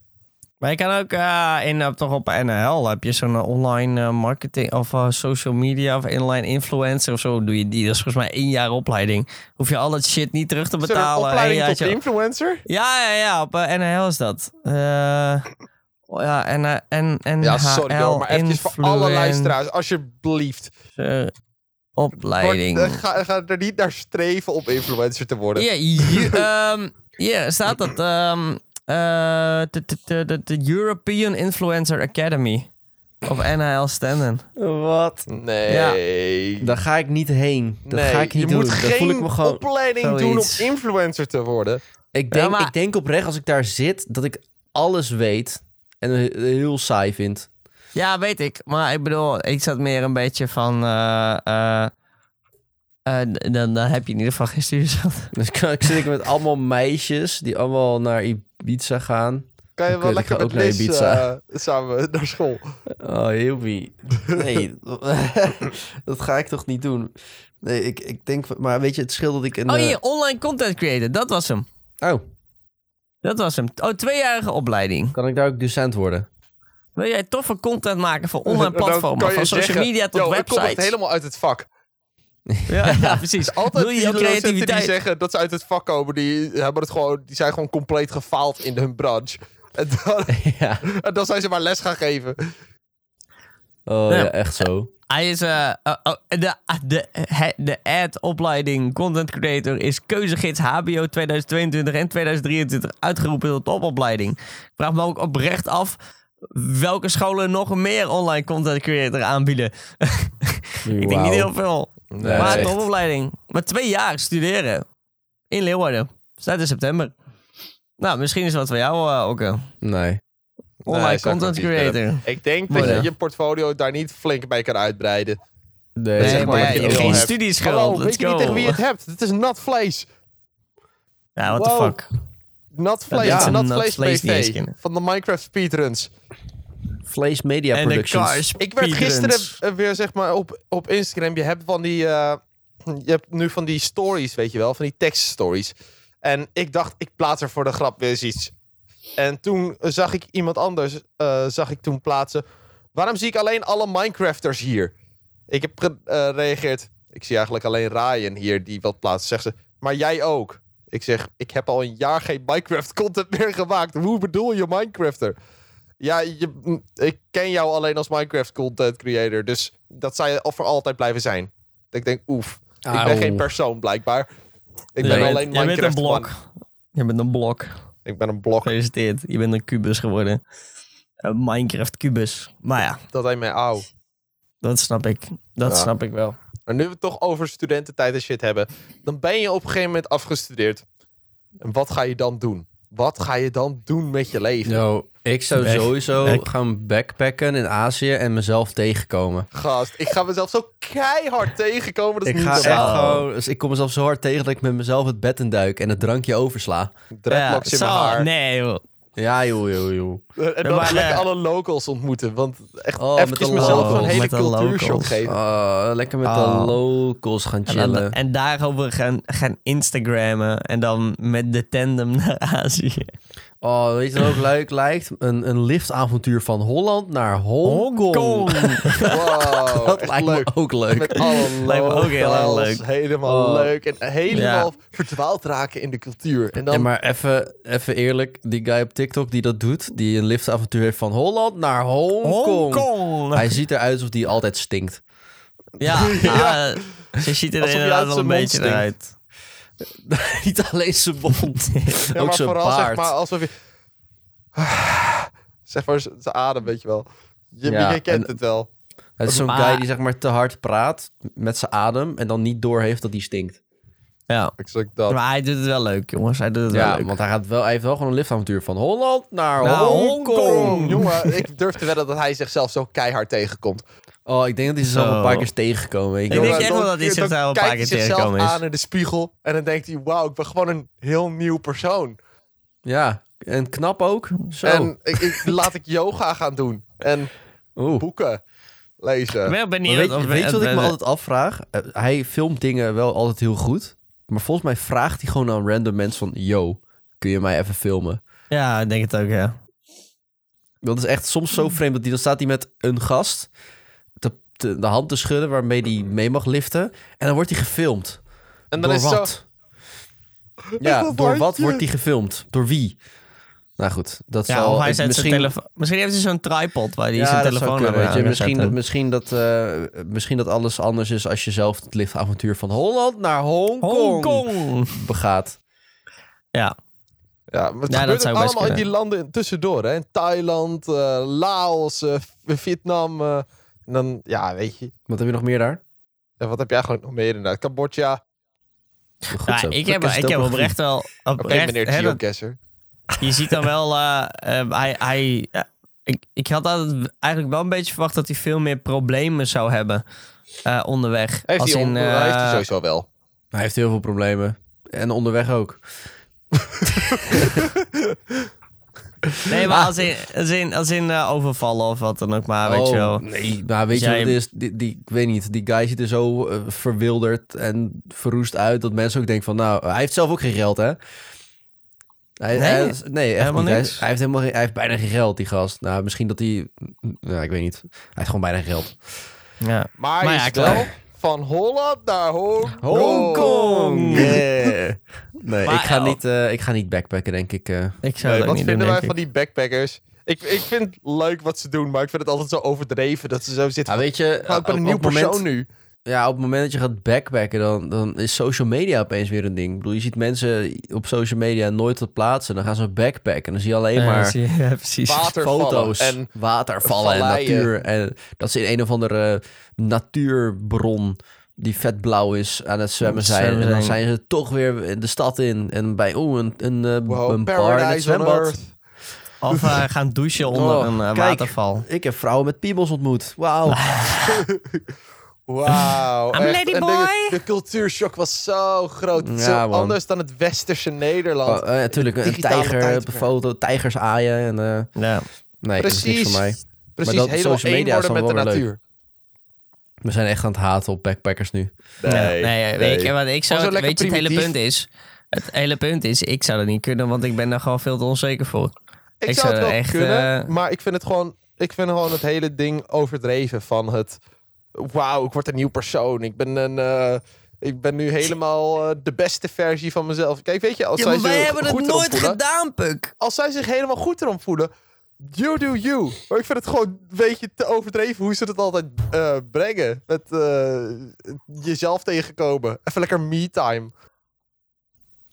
Maar je kan ook eh, in, eh, toch op NL heb je zo'n eh, online eh, marketing of eh, social media of online influencer of zo doe je die. Dat is volgens mij één jaar opleiding. Hoef je al dat shit niet terug te
Is er een
betalen.
opleiding
Eén
tot
jaartje-
influencer?
ja, ja, ja, op eh, NL is dat. Eh, oh ja, en, eh, en, en
Ja, sorry hoor, maar eventjes voor alle luisteraars, alsjeblieft. Word,
Opleiding.
eh, ga, ga er niet naar streven om influencer te worden.
Ja, ju- ehm, ja, staat dat. ehm, eh, de- de- de- de- de European Influencer Academy. Of NHL Standen.
Wat?
Nee.
Daar ga ik niet heen. Dat
Nee,
ga ik niet
je
doen.
moet
Daar
geen
voel ik me gewoon...
opleiding
zoiets.
doen om influencer te worden.
Ik denk,
maar-
ik denk oprecht als ik daar zit dat ik alles weet en he- heel saai vind.
Ja, weet ik. Maar ik bedoel, ik zat meer een beetje van. eh, eh, eh, d- dan, dan heb je in ieder geval geen studieschuld.
Dus kan, ik zit ik met allemaal meisjes die allemaal naar Ibiza gaan.
Kan je
Oké,
wel
dan
lekker
ga ik
met
ook naar
Liz
Ibiza.
eh, samen naar school.
Oh, Hilby. Nee, dat ga ik toch niet doen. Nee, ik, ik denk... Maar weet je, het scheelt dat ik een...
Oh,
eh,
hier, online content creator. Dat was hem.
oh,
Dat was hem. Oh, tweejarige opleiding.
kan ik daar ook docent worden?
Wil jij toffe content maken voor online
Nou, Dan kan
platformen?
je
Van social
zeggen,
media
"Yo,
tot
Ik kom echt
websites.
helemaal uit het vak.
Ja, ja, precies.
Altijd
Wil
die
je je
docenten die
creativiteit
zeggen dat ze uit het vak komen, die, hebben het gewoon, die zijn gewoon compleet gefaald in hun branche. En dan,
ja.
en dan zijn ze maar les gaan geven.
Oh,
Ja.
ja, echt zo.
Hij is eh, oh, oh, de, de, he- de ad-opleiding content creator is keuzegids HBO 2022 en 2023 uitgeroepen tot topopleiding. Ik vraag me ook oprecht af welke scholen nog meer online content creator aanbieden. Ik denk niet heel veel.
Nee,
maar
echt.
topopleiding. Maar twee jaar studeren in Leeuwarden. Staat in september. Nou, misschien is wat voor jou eh, ook. een
Nee.
Online
Nee, zou ik
content
ook niet
creator.
willen. Ik denk
Maar
dat
ja.
je je portfolio daar niet flink bij kan uitbreiden.
Nee,
zeg
Nee,
maar
maar
wat
ja,
je
je
wil
geen
hebt.
studieschuld.
weet
Let's
je niet
go.
tegen wie je het hebt? Het is nat vlees.
Ja, what the
Wow.
fuck.
Nat vlees.
mensen
nat
nat
vlees
vlees niet eens
BV.
kennen.
Van de Minecraft speedruns.
Vlees Media
En de
Productions.
cars.
Ik werd gisteren eh, weer zeg maar op, op Instagram. Je hebt van die. eh, je hebt nu van die stories, weet je wel, van die tekststories. En ik dacht, ik plaats er voor de grap weer eens iets. En toen zag ik iemand anders, eh, zag ik toen plaatsen. Waarom zie ik alleen alle Minecrafters hier? Ik heb gereageerd. ik zie eigenlijk alleen Ryan hier die wat plaatst. Zegt ze, maar jij ook. Ik zeg, ik heb al een jaar geen Minecraft content meer gemaakt. Hoe bedoel je Minecrafter? Ja, je, mm, ik ken jou alleen als Minecraft content creator. Dus dat zou je al voor altijd blijven zijn. Dat ik denk, oef. Ik ben
Auw.
geen persoon blijkbaar. Ik ben
Je bent-
alleen
je
Minecraft.
bent een blok.
man.
Je bent een blok.
Ik ben een blok.
Gefeliciteerd. Je bent een kubus geworden. Een Minecraft kubus. Maar ja,
Dat hij mij auw.
dat snap ik. Dat
Ja.
snap ik wel.
Maar nu we het toch over studententijd en shit hebben. Dan ben je op een gegeven moment afgestudeerd. En wat ga je dan doen? Wat ga je dan doen met je leven?
Yo, Nou, ik zou
Back-
sowieso
back-
gaan backpacken in Azië en mezelf tegenkomen.
Gast, ik ga mezelf zo keihard tegenkomen. Dat is
Ik
niet
ga echt
normaal.
gewoon... Dus ik kom mezelf zo hard tegen dat ik met mezelf het bed in duik en het drankje oversla.
Dreadlocks
Ja,
in mijn
zo.
haar.
Nee, joh.
Ja, joh, joh, joh.
En dan
maar,
gelijk
eh,
alle locals ontmoeten. Want echt
Oh, met
eventjes
de
mezelf
locals,
een hele
met de
cultuurshock
locals.
geven.
Ah, lekker met
Ah.
de locals gaan
En, dan-
chillen.
en daarover gaan, gaan Instagrammen. En dan met de tandem naar Azië.
Oh, weet je wat ook leuk lijkt? Een, een liftavontuur van Holland naar Hongkong.
Wow,
Oh. Dat
echt
lijkt
leuk.
me ook leuk.
Met alle
Lijkt me ook heel erg
locals,
leuk.
Helemaal
Oh.
leuk. En helemaal verdwaald raken in de cultuur. En dan
Ja, maar even, even eerlijk, die guy op TikTok die dat doet, die een liftavontuur heeft van Holland naar Hongkong.
Hongkong.
Hij ziet eruit alsof die altijd stinkt.
Ja, ja. ze ziet er
Alsof je
inderdaad
uit
wel
zijn
een
mond
beetje
stinkt.
uit.
Niet alleen zijn mond,
Ja,
ook
maar
zijn
vooral zeg
baard.
maar alsof je... Zeg maar z- zijn adem, weet je wel. Je,
Ja,
je kent
en-
het wel.
Het is zo'n
Maar-
guy die zeg maar te hard praat met zijn adem en dan niet doorheeft dat die stinkt.
Ja.
Exact dat.
Maar hij doet het wel leuk, jongens. Hij doet het wel
Ja,
leuk.
want hij, gaat wel, hij heeft wel gewoon een liftavontuur van Holland naar
Naar
Hongkong.
Hongkong.
Jongen, ik durf te wedden dat hij zichzelf zo keihard tegenkomt.
Oh, ik denk dat hij zichzelf
Zo.
een paar keer is tegengekomen. weet
Ik
je wel.
denk
Jongen,
echt
dan-
wel dat hij
dan
zichzelf een paar
kijkt
keer
hij zichzelf
tegenkomen is.
aan in de spiegel en dan denkt hij... Wauw, ik ben gewoon een heel nieuw persoon.
Ja, en knap ook. Zo.
En ik, ik- laat ik yoga gaan doen. En
Oeh.
boeken lezen.
Ik ben benieuwd.
Weet,
of we-
weet je wat ik
we-
me
we-
altijd afvraag? Eh, hij filmt dingen wel altijd heel goed. Maar volgens mij vraagt hij gewoon aan random mensen van... Yo, kun je mij even filmen?
Ja, ik denk het ook, ja.
Dat is echt soms
Hmm.
zo vreemd. Dat die, dan staat hij met een gast te, te- de hand te schudden... waarmee hij mee mag liften. En dan wordt hij gefilmd.
en
door
dan is het
wat?
zo...
Ja,
dat
door wat
handje.
wordt hij gefilmd? Door wie? Nou goed, dat
ja
zal...
of hij
ik-
zet
misschien-
zijn telefoon... Misschien heeft hij zo'n tripod waar hij zijn
dat zou
telefoon aan
kunnen, weet je.
kan
Misschien, dat,
zetten.
misschien, dat, eh, misschien dat alles anders is als je zelf het liftavontuur van Holland naar Hongkong
Hongkong.
begaat.
Ja.
Ja, maar het
Ja, dat
gebeurt
zou
ook
best
allemaal in die
kunnen.
landen in- tussendoor. Hè? In Thailand, eh, Laos, eh, V- Vietnam. eh, en dan, ja, weet je.
Wat heb je nog meer daar?
Ja, wat heb jij eigenlijk nog meer inderdaad? Cambodja. Oké,
Goed
Ja,
zo.
ik heb,
Dat is
ik heb
topografie.
oprecht wel... Oprecht,
meneer
hè, dat-
Geocacher.
je ziet dan wel... eh, eh, hij, hij, ja, ik, ik had altijd eigenlijk wel een beetje verwacht dat hij veel meer problemen zou hebben eh, onderweg.
Heeft
Als
hij,
in,
on- hij heeft hij
eh,
sowieso wel.
Hij heeft heel veel problemen. En onderweg ook.
Nee, maar als in, als in, als in eh, overvallen of wat dan ook maar, weet
Oh,
je wel.
Nee, nou, weet
Jij-
je wat het is? Die, die, ik weet niet, die guy ziet er zo eh, verwilderd en verroest uit... dat mensen ook denken van, nou, hij heeft zelf ook geen geld, hè?
Nee,
Hij, hij is- nee echt
helemaal
niet. Hij, is-
niks.
hij heeft helemaal geen- hij heeft bijna geen geld, die gast. Nou, misschien dat hij... Nou, ik weet niet. Hij heeft gewoon bijna geen geld.
Ja.
Maar,
Maar
hij
ja,
is
klaar.
wel van Holland naar Hongkong.
Hongkong.
Yeah. Nee,
Oh, Maar
ik ga,
el-
niet, eh, ik ga niet backpacken, denk ik. eh.
Ik zou
Nee,
dat
wat
ook niet doen,
vinden wij
denk ik.
van die backpackers? Ik, ik vind het leuk wat ze doen, maar ik vind het altijd zo overdreven dat ze zo zitten.
Ja, weet je,
van, "Oh, ik ben
eh,
een nieuw
op het
persoon
moment,
nu.
Ja, op het moment dat je gaat backpacken, dan, dan is social media opeens weer een ding. Ik bedoel, je ziet mensen op social media nooit op plaatsen. Dan gaan ze backpacken en dan zie je alleen
Ja,
maar
zie je- ja, precies.
Watervallen
foto's,
en
watervallen en
valleien.
natuur. En dat ze in een of andere eh, natuurbron die vet blauw is aan het zwemmen zijn.
Zwemmen
En dan
zijn.
zijn ze toch weer de stad in. En bij, oh, een, een, eh,
Wow,
een bar in het
paradise on
zwembad.
earth.
Of eh, gaan douchen onder
Oh,
een eh,
kijk.
waterval.
Ik heb vrouwen met piemels ontmoet. Wauw.
Wauw.
I'm a
echt.
lady
En de-
boy.
De, cultuurshock was zo groot. Het is
Ja,
zo
man. eh,
anders dan het westerse Nederland.
Oh, Natuurlijk, een
digitale
tijger op een
tijdperk.
foto, tijgers aaien. En, eh,
Ja.
nee, dat is niks
Precies.
voor mij.
Precies,
dat op
helemaal
social media
één worden
is
met
dan
de
wel weer
natuur.
We zijn echt aan het haten op backpackers nu.
Nee, nee, weet je wat
Gewoon
ik zou.
zo
weet je,
lekker
het hele
primitief.
punt is. Het hele punt is, ik zou dat niet kunnen, want ik ben daar gewoon veel te onzeker voor.
Ik,
Ik
zou het
zou
wel
echt,
kunnen,
eh,
maar ik vind het gewoon... Ik vind gewoon het hele ding overdreven van het... Wauw, ik word een nieuw persoon. Ik ben een... eh, ik ben nu helemaal eh, de beste versie van mezelf. Kijk, weet je, als zij zich goed erom voelen-
gedaan, Puk.
Als zij zich helemaal goed erom voelen, you do you. Maar ik vind het gewoon een beetje te overdreven hoe ze dat altijd eh, brengen. Met eh, jezelf tegenkomen. Even lekker me-time.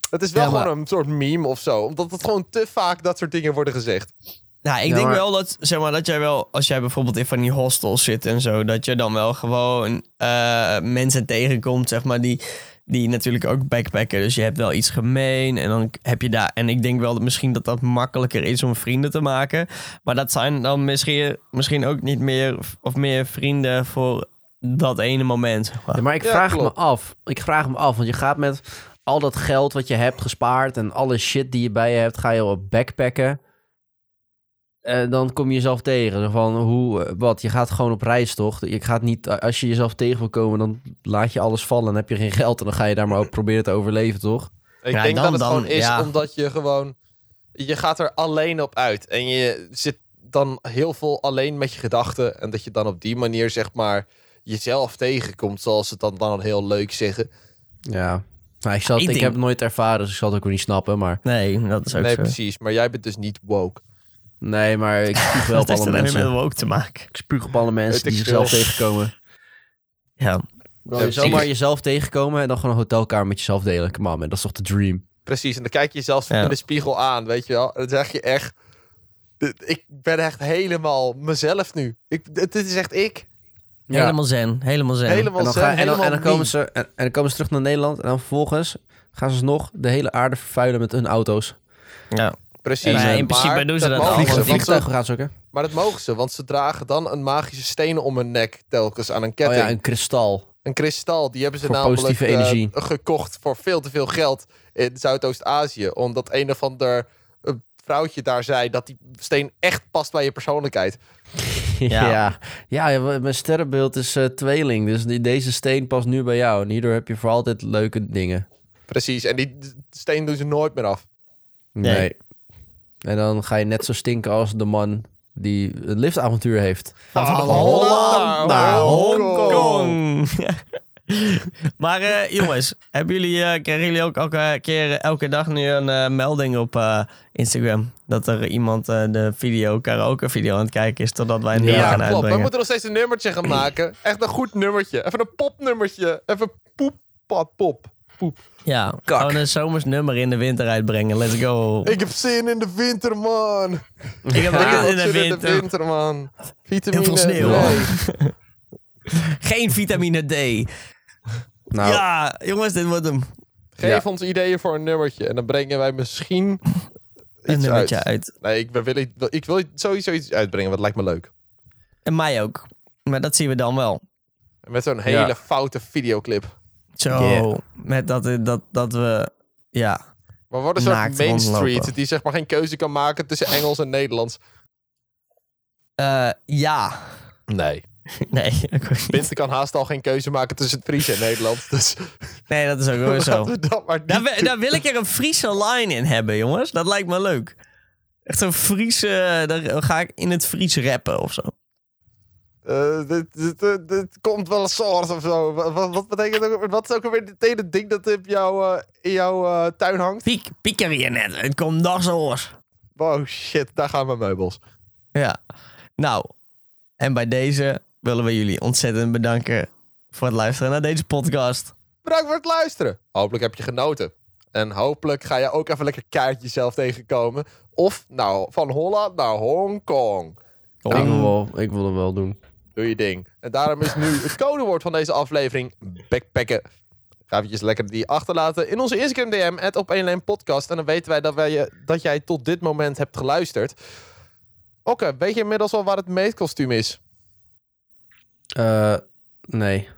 Het is wel
Ja, maar-
gewoon een soort meme of zo. Omdat het gewoon te vaak dat soort dingen worden gezegd.
Nou, ik
Ja,
denk
maar-
wel dat, zeg maar, dat jij wel, als jij bijvoorbeeld in van die hostels zit en zo, dat je dan wel gewoon eh, mensen tegenkomt, zeg maar, die, die natuurlijk ook backpacken. Dus je hebt wel iets gemeen en dan heb je daar, en ik denk wel dat misschien dat dat makkelijker is om vrienden te maken. Maar dat zijn dan misschien, misschien ook niet meer, of meer vrienden voor dat ene moment. zeg maar.
Ja, maar ik
Ja,
vraag
klopt.
me af. Ik vraag me af, want je gaat met al dat geld wat je hebt gespaard en alle shit die je bij je hebt, ga je op backpacken. eh, dan kom je jezelf tegen. Zo Van hoe, eh, wat, je gaat gewoon op reis, toch? Je gaat niet, eh, als je jezelf tegen wil komen, dan laat je alles vallen en heb je geen geld. En dan ga je daar maar ook proberen te overleven, toch?
Ik
Ja,
denk
dan-
dat het
dan,
gewoon is
ja.
omdat je gewoon... Je gaat er alleen op uit. En je zit dan heel veel alleen met je gedachten. En dat je dan op die manier, zeg maar, jezelf tegenkomt. Zoals ze het dan, dan heel leuk zeggen.
Ja. Nou, ik, zal het-
Ik
ik
denk-
heb het nooit ervaren, dus ik zal het ook weer niet snappen. Maar
Nee, dat is ook
Nee,
zo.
precies. Maar jij bent dus niet woke.
nee, maar ik spuug wel
Wat
op
heeft
alle
er dan weer met
mensen.
woke te maken?
Ik spuug op alle mensen
Weet ik
die zichzelf
veel.
tegenkomen.
Ja,
Bro,
Ja,
zomaar
precies.
jezelf tegenkomen en dan gewoon een hotelkamer met jezelf delen. Come on, man. Dat is toch de dream?
Precies. En dan kijk je jezelf
Ja.
in de spiegel aan, weet je wel. En dan zeg je echt... dit- Ik ben echt helemaal mezelf nu. Ik, dit dit is echt ik.
helemaal zen. Helemaal zen.
Helemaal
En dan,
zelf,
gaan, en, dan, en,
helemaal
dan komen
me.
ze, en, en dan komen ze terug naar Nederland. En dan vervolgens gaan ze alsnog de hele aarde vervuilen met hun auto's.
Ja.
Precies.
Ja,
maar
in principe doen ze dat
mogen
al,
ze,
want
Vliegen,
want ze-
vliegtuigen gaan ze ook, hè?
Maar dat mogen ze, want ze dragen dan een magische steen om hun nek telkens aan een
Oh
ketting.
ja, een kristal.
Een kristal, die hebben ze
Voor
namelijk
positieve
eh,
energie.
gekocht voor veel te veel geld in Zuidoost-Azië. Omdat een of ander eh, vrouwtje daar zei dat die steen echt past bij je persoonlijkheid.
Ja.
Ja.
Ja, ja, mijn sterrenbeeld is eh, tweeling. Dus die, deze steen past nu bij jou. En hierdoor heb je voor altijd leuke dingen.
Precies, en die steen doen ze nooit meer af.
Nee.
Nee.
En dan ga je net zo stinken als de man die een liftavontuur heeft. Nou,
Van
Van
Holland
Holland
naar
naar
Hongkong. maar eh, jongens, hebben jullie, eh, krijgen jullie ook elke, keer, elke dag nu een eh, melding op eh, Instagram? Dat er iemand eh, de video, karaoke video aan het kijken is totdat wij hem
Ja,
hier gaan
klopt. We
uitbrengen.
moeten nog steeds een nummertje gaan maken. Echt een goed nummertje. Even een popnummertje. Even poep, pap, pop. Poep.
Ja,
Kak.
gewoon een zomers nummer in de winter uitbrengen. Let's go.
Ik heb zin in de winter, man.
Ik heb
Ik heb
ook
ook
in de
zin in de
winter.
winter, man. Vitamine
Heel veel sneeuw.
D.
Geen vitamine D.
Nou,
Ja, jongens, dit wordt hem.
Geef ons ideeën voor een nummertje. En dan brengen wij misschien
Een
iets
nummertje
uit.
uit.
Nee, ik wil, ik wil- ik wil sowieso iets uitbrengen. Wat lijkt me leuk.
En mij ook. Maar dat zien we dan wel.
Met zo'n hele
Ja.
foute videoclip.
Zo,
Yeah.
met dat, eh, dat, dat we... Ja,
Maar wordt een soort
Naakt
Main
rondlopen.
Street die zeg maar geen keuze kan maken tussen Engels en Nederlands.
Eh, ja.
Nee.
Nee, ik ook niet.
Binten kan haast al geen keuze maken tussen het Fries en Nederlands. Dus
nee, dat is ook wel zo.
laten we dat maar niet
Daar, wi-
doen.
daar wil ik er een Friese line in hebben, jongens. Dat lijkt me leuk. Echt een Friese... eh, Daar ga ik in het Fries rappen of zo.
Eh, dit, dit, dit- dit komt wel een soort of zo. Wat, wat, wat betekent ook, wat is ook alweer het ene ding dat op jou, eh, in jouw eh, tuin hangt?
Piek, piek er hier net. Het komt nog zo hoor.
Wow, shit, daar gaan mijn meubels.
Ja. Nou, en bij deze willen we jullie ontzettend bedanken... voor het luisteren naar deze podcast.
Bedankt voor het luisteren. Hopelijk heb je genoten. En hopelijk ga je ook even lekker keihard jezelf tegenkomen. Of nou, van Holland naar Hongkong.
ik, wil wel, ik wil hem wel doen.
Doe je ding. En daarom is nu het codewoord van deze aflevering backpacken. Ga eventjes lekker die achterlaten in onze Instagram DM, at op podcast. En dan weten wij dat, wij je, dat jij tot dit moment hebt geluisterd. Oké, weet je inmiddels al waar het meetkostuum is?
Eh, nee.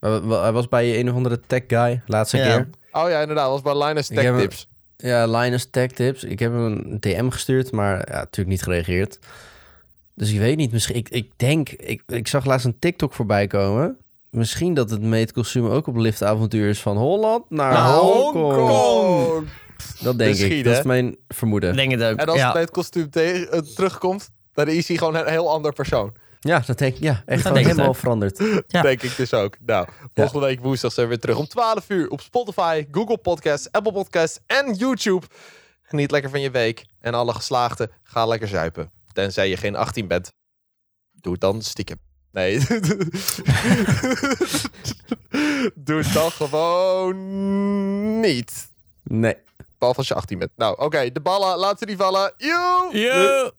Hij wa- hij was bij je een of andere tech guy, laatste
Ja.
keer.
Oh ja, inderdaad, was bij Linus
Ik heb
Tech
een-
Tips.
Ja, Linus Tech Tips. Ik heb hem een DM gestuurd, maar ja, natuurlijk niet gereageerd. Dus ik weet niet, misschien... Ik, ik denk... Ik, ik zag laatst een TikTok voorbij komen. Misschien dat het meetconsumer ook op liftavontuur is van Holland naar
Naar
Hongkong.
Hongkong.
Dat denk
Nou, Misschien,
ik. Dat
hè?
is mijn vermoeden.
Ik denk het ook.
En als
ja.
het meetkostuum tegen- eh, terugkomt, dan is hij gewoon een heel ander persoon.
Ja, dat denk ik. Ja, echt gewoon
denk ik
helemaal
ook.
veranderd.
Ja.
Denk ik dus ook. Nou, volgende week woensdag zijn we weer terug om 12 uur op Spotify, Google Podcasts, Apple Podcasts en YouTube. Geniet lekker van je week. En alle geslaagden, ga lekker zuipen. Tenzij je geen 18 bent. Doe het dan stiekem. Nee. Doe het dan gewoon niet.
Nee.
Behalve als je 18 bent. Nou, oké. de ballen, laat ze die vallen. Joe!
Yo!